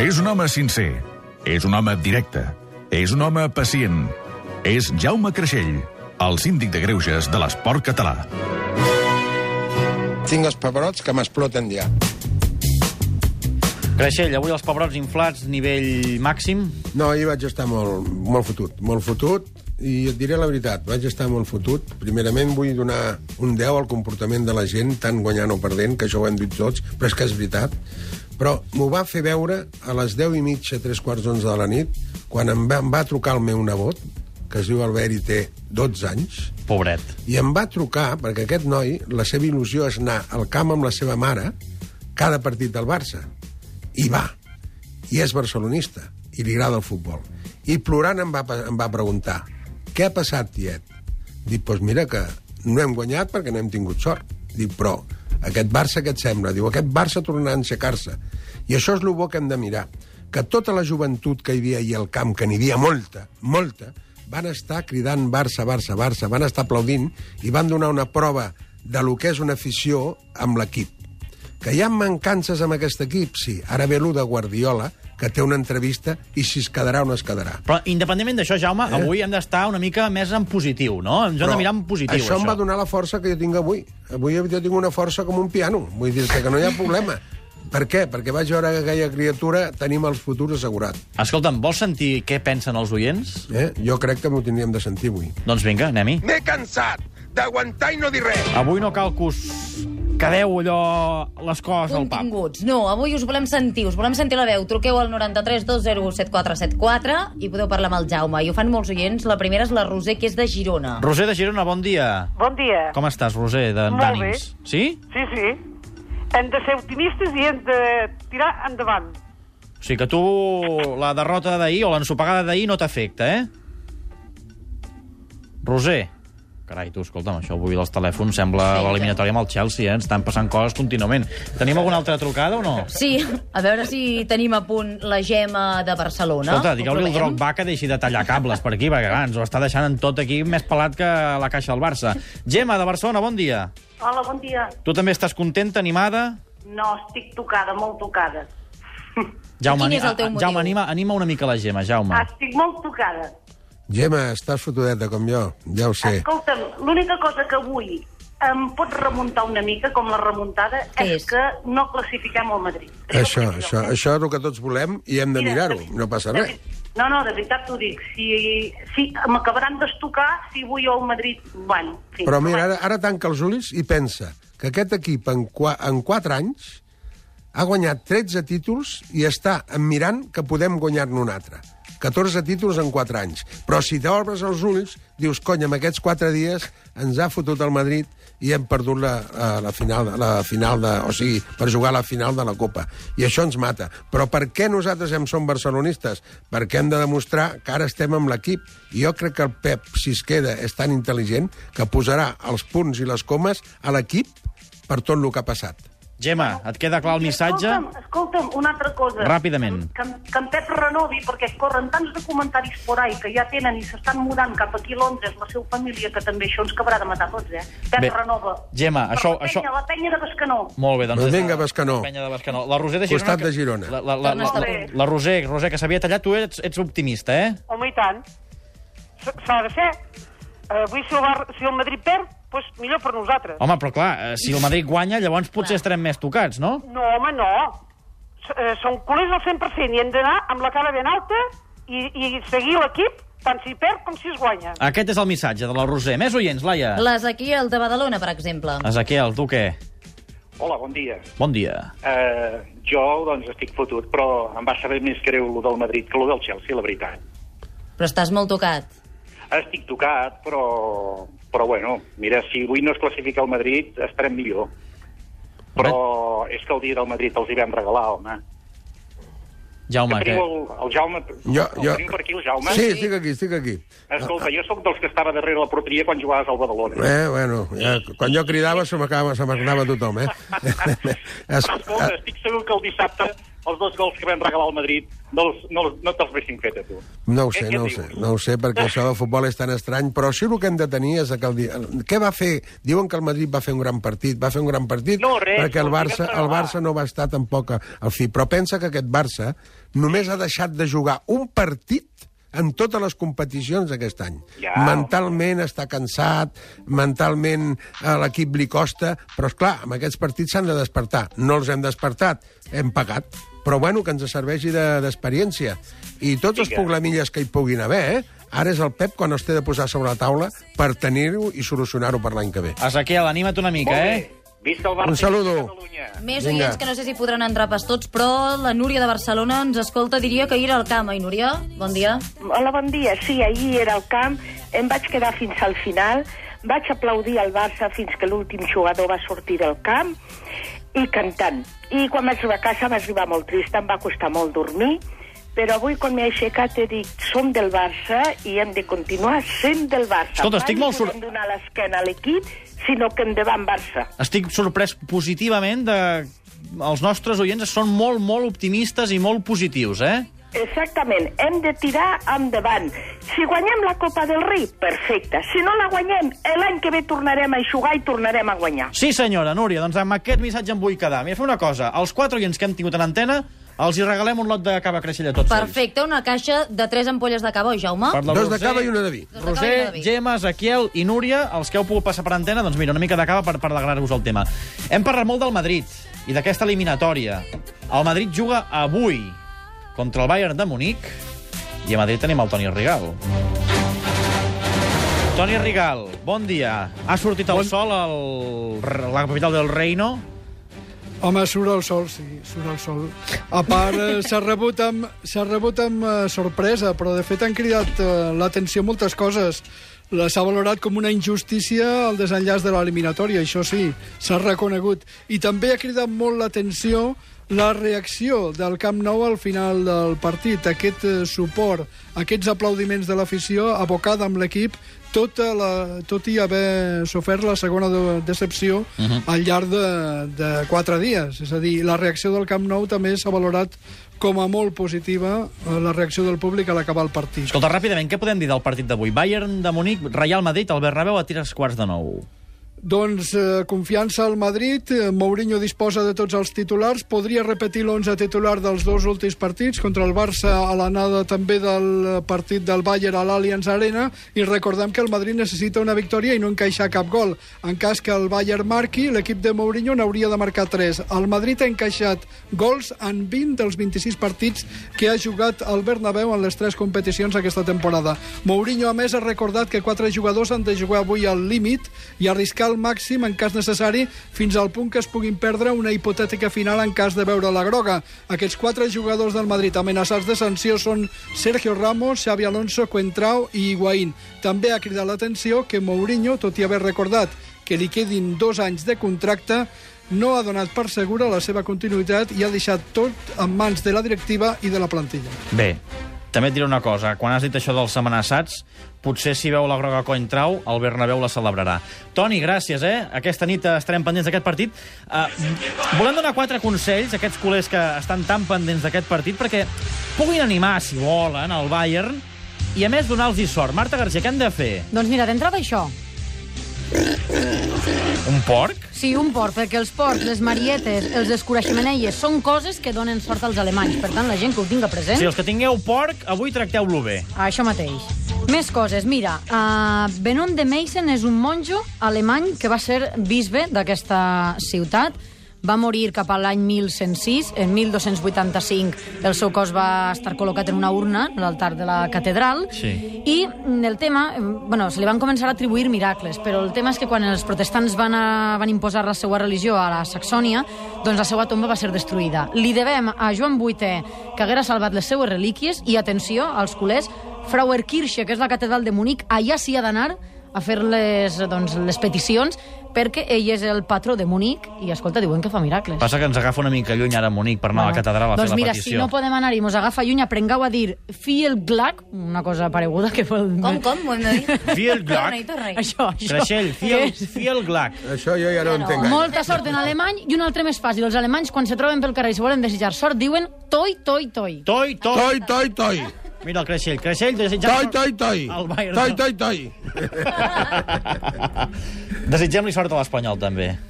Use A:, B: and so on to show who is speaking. A: És un home sincer. És un home directe. És un home pacient. És Jaume Creixell, el síndic de greuges de l'esport català.
B: Tinc els pebrots que m'exploten ja.
C: Creixell, avui els pebrots inflats nivell màxim.
B: No, ahir vaig estar molt, molt fotut, molt fotut, i et diré la veritat, vaig estar molt fotut. Primerament vull donar un 10 al comportament de la gent, tant guanyant o perdent, que això ho hem dit tots, però és que és veritat. Però m'ho va fer veure a les 10 i mitja, tres quarts d'onze de la nit, quan em va, em va trucar el meu nebot, que es diu Albert i té 12 anys,
C: Pobret.
B: i em va trucar, perquè aquest noi, la seva il·lusió és anar al camp amb la seva mare cada partit del Barça. I va. I és barcelonista. I li agrada el futbol. I plorant em va, pe- em va preguntar què ha passat, tiet? Dic, doncs pues mira que no hem guanyat perquè no hem tingut sort. Dic, però aquest Barça què et sembla? Diu, aquest Barça tornarà a aixecar-se. I això és el bo que hem de mirar. Que tota la joventut que hi havia ahir al camp, que n'hi havia molta, molta, van estar cridant Barça, Barça, Barça, van estar aplaudint i van donar una prova de lo que és una afició amb l'equip. Que hi ha mancances amb aquest equip, sí. Ara ve l'ú de Guardiola, que té una entrevista i si es quedarà o no es quedarà.
C: Però independentment d'això, Jaume, eh? avui hem d'estar una mica més en positiu, no? Ens hem de mirar en positiu,
B: això,
C: això.
B: em va donar la força que jo tinc avui. Avui jo tinc una força com un piano. Vull dir-te que no hi ha problema. per què? Perquè vaig veure que aquella criatura tenim el futur assegurat.
C: Escolta'm, vols sentir què pensen els oients?
B: Eh? Jo crec que m'ho tindríem de sentir avui.
C: Doncs vinga, anem-hi.
D: M'he cansat d'aguantar i no dir res.
C: Avui no cal que us quedeu allò les coses al pap.
E: Continguts. No, avui us volem sentir, us volem sentir la veu. Truqueu al 93 20 7474 i podeu parlar amb el Jaume. I ho fan molts oients. La primera és la Roser, que és de Girona.
C: Roser de Girona, bon dia.
F: Bon dia.
C: Com estàs, Roser, de-
F: Molt
C: d'ànims? Sí?
F: Sí, sí. Hem de ser optimistes i hem de tirar endavant.
C: O sigui que tu la derrota d'ahir o l'ensopegada d'ahir no t'afecta, eh? Roser. Carai, tu, escolta'm, això avui dels telèfons sembla
E: Vinga.
C: l'eliminatòria amb el Chelsea, eh? Ens estan passant coses contínuament. Tenim alguna altra trucada o no?
E: Sí, a veure si tenim a punt la Gemma de Barcelona.
C: Escolta,
E: Ho
C: digueu-li al
E: provem?
C: Drogba que deixi de tallar cables per aquí, perquè clar, ens ho està deixant en tot aquí més pelat que la caixa del Barça. Gemma, de Barcelona, bon dia.
G: Hola, bon dia.
C: Tu també estàs contenta, animada?
G: No, estic tocada, molt tocada.
C: Jaume,
E: Quin és el teu
C: ani-
E: motiu? Ah.
C: Jaume anima, anima una mica la Gemma, Jaume.
G: Estic molt tocada.
B: Gemma, estàs fotudeta com jo, ja ho sé.
G: Escolta'm, l'única cosa que avui em pot remuntar una mica, com la remuntada,
E: Què
G: és,
E: és?
G: que no classifiquem el Madrid.
B: Això, això, això és el que tots volem i hem de
G: Mira,
B: mirar-ho.
G: de-
B: No passa
G: de-
B: res.
G: No, no, de veritat t'ho dic. Si, si m'acabaran d'estocar si avui el Madrid guany. Sí,
B: Però mira, ara, ara tanca els ulls i pensa que aquest equip en, qua, en 4 anys ha guanyat 13 títols i està mirant que podem guanyar-ne un altre. 14 títols en 4 anys. Però si t'obres els ulls, dius, cony, en aquests 4 dies ens ha fotut el Madrid i hem perdut la, eh, la, la final, de- la final de, o sigui, per jugar a la final de la Copa. I això ens mata. Però per què nosaltres hem som barcelonistes? Perquè hem de demostrar que ara estem amb l'equip. I jo crec que el Pep, si es queda, és tan intel·ligent que posarà els punts i les comes a l'equip per tot el que ha passat.
C: Gemma, et queda clar el missatge?
G: Escolta'm, escolta'm, una altra cosa.
C: Ràpidament.
G: Que, que en Pep renovi, perquè corren tants de comentaris por ahí que ja tenen i s'estan mudant cap aquí a Londres, la seva família, que també això ens acabarà de matar tots, eh? Pep
C: Bé,
G: renova.
C: Gemma,
G: Per
C: això-
G: La penya,
C: això-
G: la penya de Bescanó.
C: Molt bé, doncs...
B: Doncs vinga, Bescanó.
C: Penya de Bescanó. La Roser de Girona...
B: Costat
C: que-
B: de Girona.
C: La, la, la,
E: Torna a
C: la,
E: estar
C: la,
E: bé.
C: la Roser, Roser, que s'havia tallat, tu ets, ets optimista, eh?
F: Home, i tant. S- S'ha de ser. Eh, Avui, si el, Bar si el Madrid perd, doncs millor per nosaltres.
C: Home, però clar, eh, si el Madrid guanya, llavors potser estarem més tocats, no?
F: No, home, no. S eh, són culers al 100% i hem d'anar amb la cara ben alta i, i seguir l'equip tant si perd com si es guanya.
C: Aquest és el missatge de la Roser. Més oients, Laia.
E: L'Ezequiel de Badalona, per exemple.
C: Ezequiel, tu què?
H: Hola, bon dia.
C: Bon dia.
H: Uh, jo, doncs, estic fotut, però em va saber més greu lo del Madrid que lo del Chelsea, la veritat.
E: Però estàs molt tocat.
H: Estic tocat, però, però bueno, mira, si avui no es classifica el Madrid, estarem millor. Però és que el dia del Madrid els hi vam regalar, home.
C: Jaume,
H: Que
C: que...
H: teniu el, el Jaume...
B: Jo,
H: el
B: jo...
H: teniu per aquí, el Jaume?
B: Sí, estic aquí, estic aquí.
H: Escolta, jo sóc dels que estava darrere la porteria quan jugaves al Badalona.
B: Eh, bueno, ja, quan jo cridava se m'acaba- se m'acabava tothom, eh? es,
H: Ah, Escolta, estic segur que el dissabte els dos gols que vam regalar al Madrid no, els, no, els- no te'ls haguessin fet a tu.
B: No ho sé,
H: Què- què
B: no ho sé,
H: dius?
B: no ho sé, perquè això del futbol és tan estrany, però sí el que hem de tenir és que el... di- Què va fer? Diuen que el Madrid va fer un gran partit, va fer un gran partit
H: No, res,
B: perquè el
H: no,
B: Barça,
H: digues que no
B: el
H: va.
B: Barça no va estar tampoc a- al fi, però pensa que aquest Barça només ha deixat de jugar un partit en totes les competicions aquest any.
H: Ja,
B: mentalment està cansat, mentalment a l'equip li costa, però és clar, amb aquests partits s'han de despertar. No els hem despertat, hem pagat, però bueno, que ens serveixi de- d'experiència. De, I tots els
H: Vinga.
B: problemilles que hi puguin haver, eh? ara és el Pep quan els té de posar sobre la taula per tenir-ho i solucionar-ho per l'any que ve.
C: Ezequiel, anima't una mica,
H: Molt
C: eh?
H: bé. Visca el Barça
B: Un saludo.
H: i visca Catalunya.
E: Més
B: Vinga.
E: oients que no sé si podran entrar pas tots, però la Núria de Barcelona ens escolta, diria que ahir al camp. I Núria, bon dia.
I: Hola, bon dia. Sí, ahir era al camp, em vaig quedar fins al final, vaig aplaudir el Barça fins que l'últim jugador va sortir del camp i cantant. I quan vaig arribar a casa vaig arribar molt trista, em va costar molt dormir, però avui quan m'he aixecat he dit som del Barça i hem de continuar sent del Barça.
C: Escolta, estic molt
I: No
C: sor-
I: podem donar l'esquena a l'equip, sinó que endavant Barça.
C: Estic sorprès positivament de... Els nostres oients són molt, molt optimistes i molt positius, eh?
I: Exactament, hem de tirar endavant. Si guanyem la Copa del Rei, perfecte. Si no la guanyem, l'any que ve tornarem a jugar i tornarem a guanyar.
C: Sí, senyora, Núria, doncs amb aquest missatge em vull quedar. Mira, fem una cosa. Els quatre oients que hem tingut en antena, els hi regalem un lot de cava creixell a tots
E: Perfecte, una caixa de tres ampolles de cava, oi, Jaume?
C: ells. Per la
B: Dos de
C: Roser,
B: cava i una de vi.
E: Dos de cava i una de
C: Roser,
E: vi.
C: Gemma, Ezequiel i Núria, els que heu pogut passar per antena, doncs mira, una mica de cava per, per alegrar-vos el tema. Hem parlat molt del Madrid i d'aquesta eliminatòria. El Madrid juga avui contra el Bayern de Munic i a Madrid tenim el Toni Rigal. Toni Rigal, bon dia. Ha sortit el sol al, a la capital del Reino?
J: Home, surt el sol, sí, surt el sol. A part, eh, s'ha rebut, amb, s'ha rebut amb eh, sorpresa, però de fet han cridat eh, l'atenció moltes coses. La- S'ha valorat com una injustícia el desenllaç de l'eliminatòria, això sí, s'ha reconegut. I també ha cridat molt l'atenció la reacció del Camp Nou al final del partit, aquest eh, suport, aquests aplaudiments de l'afició abocada amb l'equip, tota la, tot i haver sofert la segona de, decepció uh -huh. al llarg de, de quatre dies. És a dir, la reacció del Camp Nou també s'ha valorat com a molt positiva eh, la reacció del públic a l'acabar el partit.
C: Escolta, ràpidament, què podem dir del partit d'avui? Bayern de Munic, Real Madrid, el Bernabéu a tires quarts de nou.
J: Doncs eh, confiança al Madrid, eh, Mourinho disposa de tots els titulars, podria repetir l'11 titular dels dos últims partits, contra el Barça a l'anada també del eh, partit del Bayern a l'Allianz Arena, i recordem que el Madrid necessita una victòria i no encaixar cap gol. En cas que el Bayern marqui, l'equip de Mourinho n'hauria de marcar 3. El Madrid ha encaixat gols en 20 dels 26 partits que ha jugat al Bernabéu en les tres competicions aquesta temporada. Mourinho, a més, ha recordat que quatre jugadors han de jugar avui al límit i arriscar el màxim en cas necessari fins al punt que es puguin perdre una hipotètica final en cas de veure la groga. Aquests quatre jugadors del Madrid amenaçats de sanció són Sergio Ramos, Xavi Alonso, Cuentrao i Higuaín. També ha cridat l'atenció que Mourinho, tot i haver recordat que li quedin dos anys de contracte, no ha donat per segura la seva continuïtat i ha deixat tot en mans de la directiva i de la plantilla.
C: Bé, també et diré una cosa. Quan has dit això dels amenaçats, potser si veu la groga Cointrau, el Bernabéu la celebrarà. Toni, gràcies, eh? Aquesta nit estarem pendents d'aquest partit. Uh, volem donar quatre consells a aquests culers que estan tan pendents d'aquest partit perquè puguin animar, si volen, el Bayern i, a més, donar-los sort. Marta Garcia, què hem de fer?
K: Doncs mira, d'entrada això.
C: Un porc?
K: Sí, un port, perquè els ports, les marietes, els escuraixameneies, són coses que donen sort als alemanys. Per tant, la gent que ho tinga present...
C: Si els que tingueu porc, avui tracteu-lo bé.
K: Això mateix. Més coses. Mira, uh, Benon de Meissen és un monjo alemany que va ser bisbe d'aquesta ciutat. Va morir cap a l'any 1106. En 1285 el seu cos va estar col·locat en una urna a l'altar de la catedral.
C: Sí.
K: I mm, el tema... mm, Bueno, se li van començar a atribuir miracles, però el tema és que quan els protestants van, a, van imposar la seva religió a la Saxònia, doncs la seva tomba va ser destruïda. Li devem a Joan VIII que haguera salvat les seues relíquies i, atenció, als culers, Frauerkirche, que és la catedral de Munic, allà s'hi ha d'anar a fer les, doncs, les peticions perquè ell és el patró de Munic i, escolta, diuen que fa miracles.
C: Passa que ens agafa una mica lluny ara a Munic per anar a la catedral a
K: doncs
C: fer
K: mira,
C: la petició.
K: si no podem anar-hi, mos agafa lluny, aprengueu a dir fiel glac, una cosa pareguda que vol...
E: Com, com? Ho hem de dir?
C: Fiel glac.
E: Torna-hi, torna-hi.
K: Això, això.
C: Creixell, fiel,
K: És-
C: fiel glac.
B: Això jo ja no, no. entenc gaire.
K: Molta sort en alemany i un altre més fàcil. Els alemanys, quan se troben pel carrer i se volen desitjar sort, diuen toi, toi, toi.
C: Toi, toi.
B: Toi, toi, toi.
C: Mira el Creixell. Creixell, desitjant...
B: Toi, toi, toi.
C: El Bayern.
B: Toi, toi, toi.
C: Desitgem-li sort a l'Espanyol, també.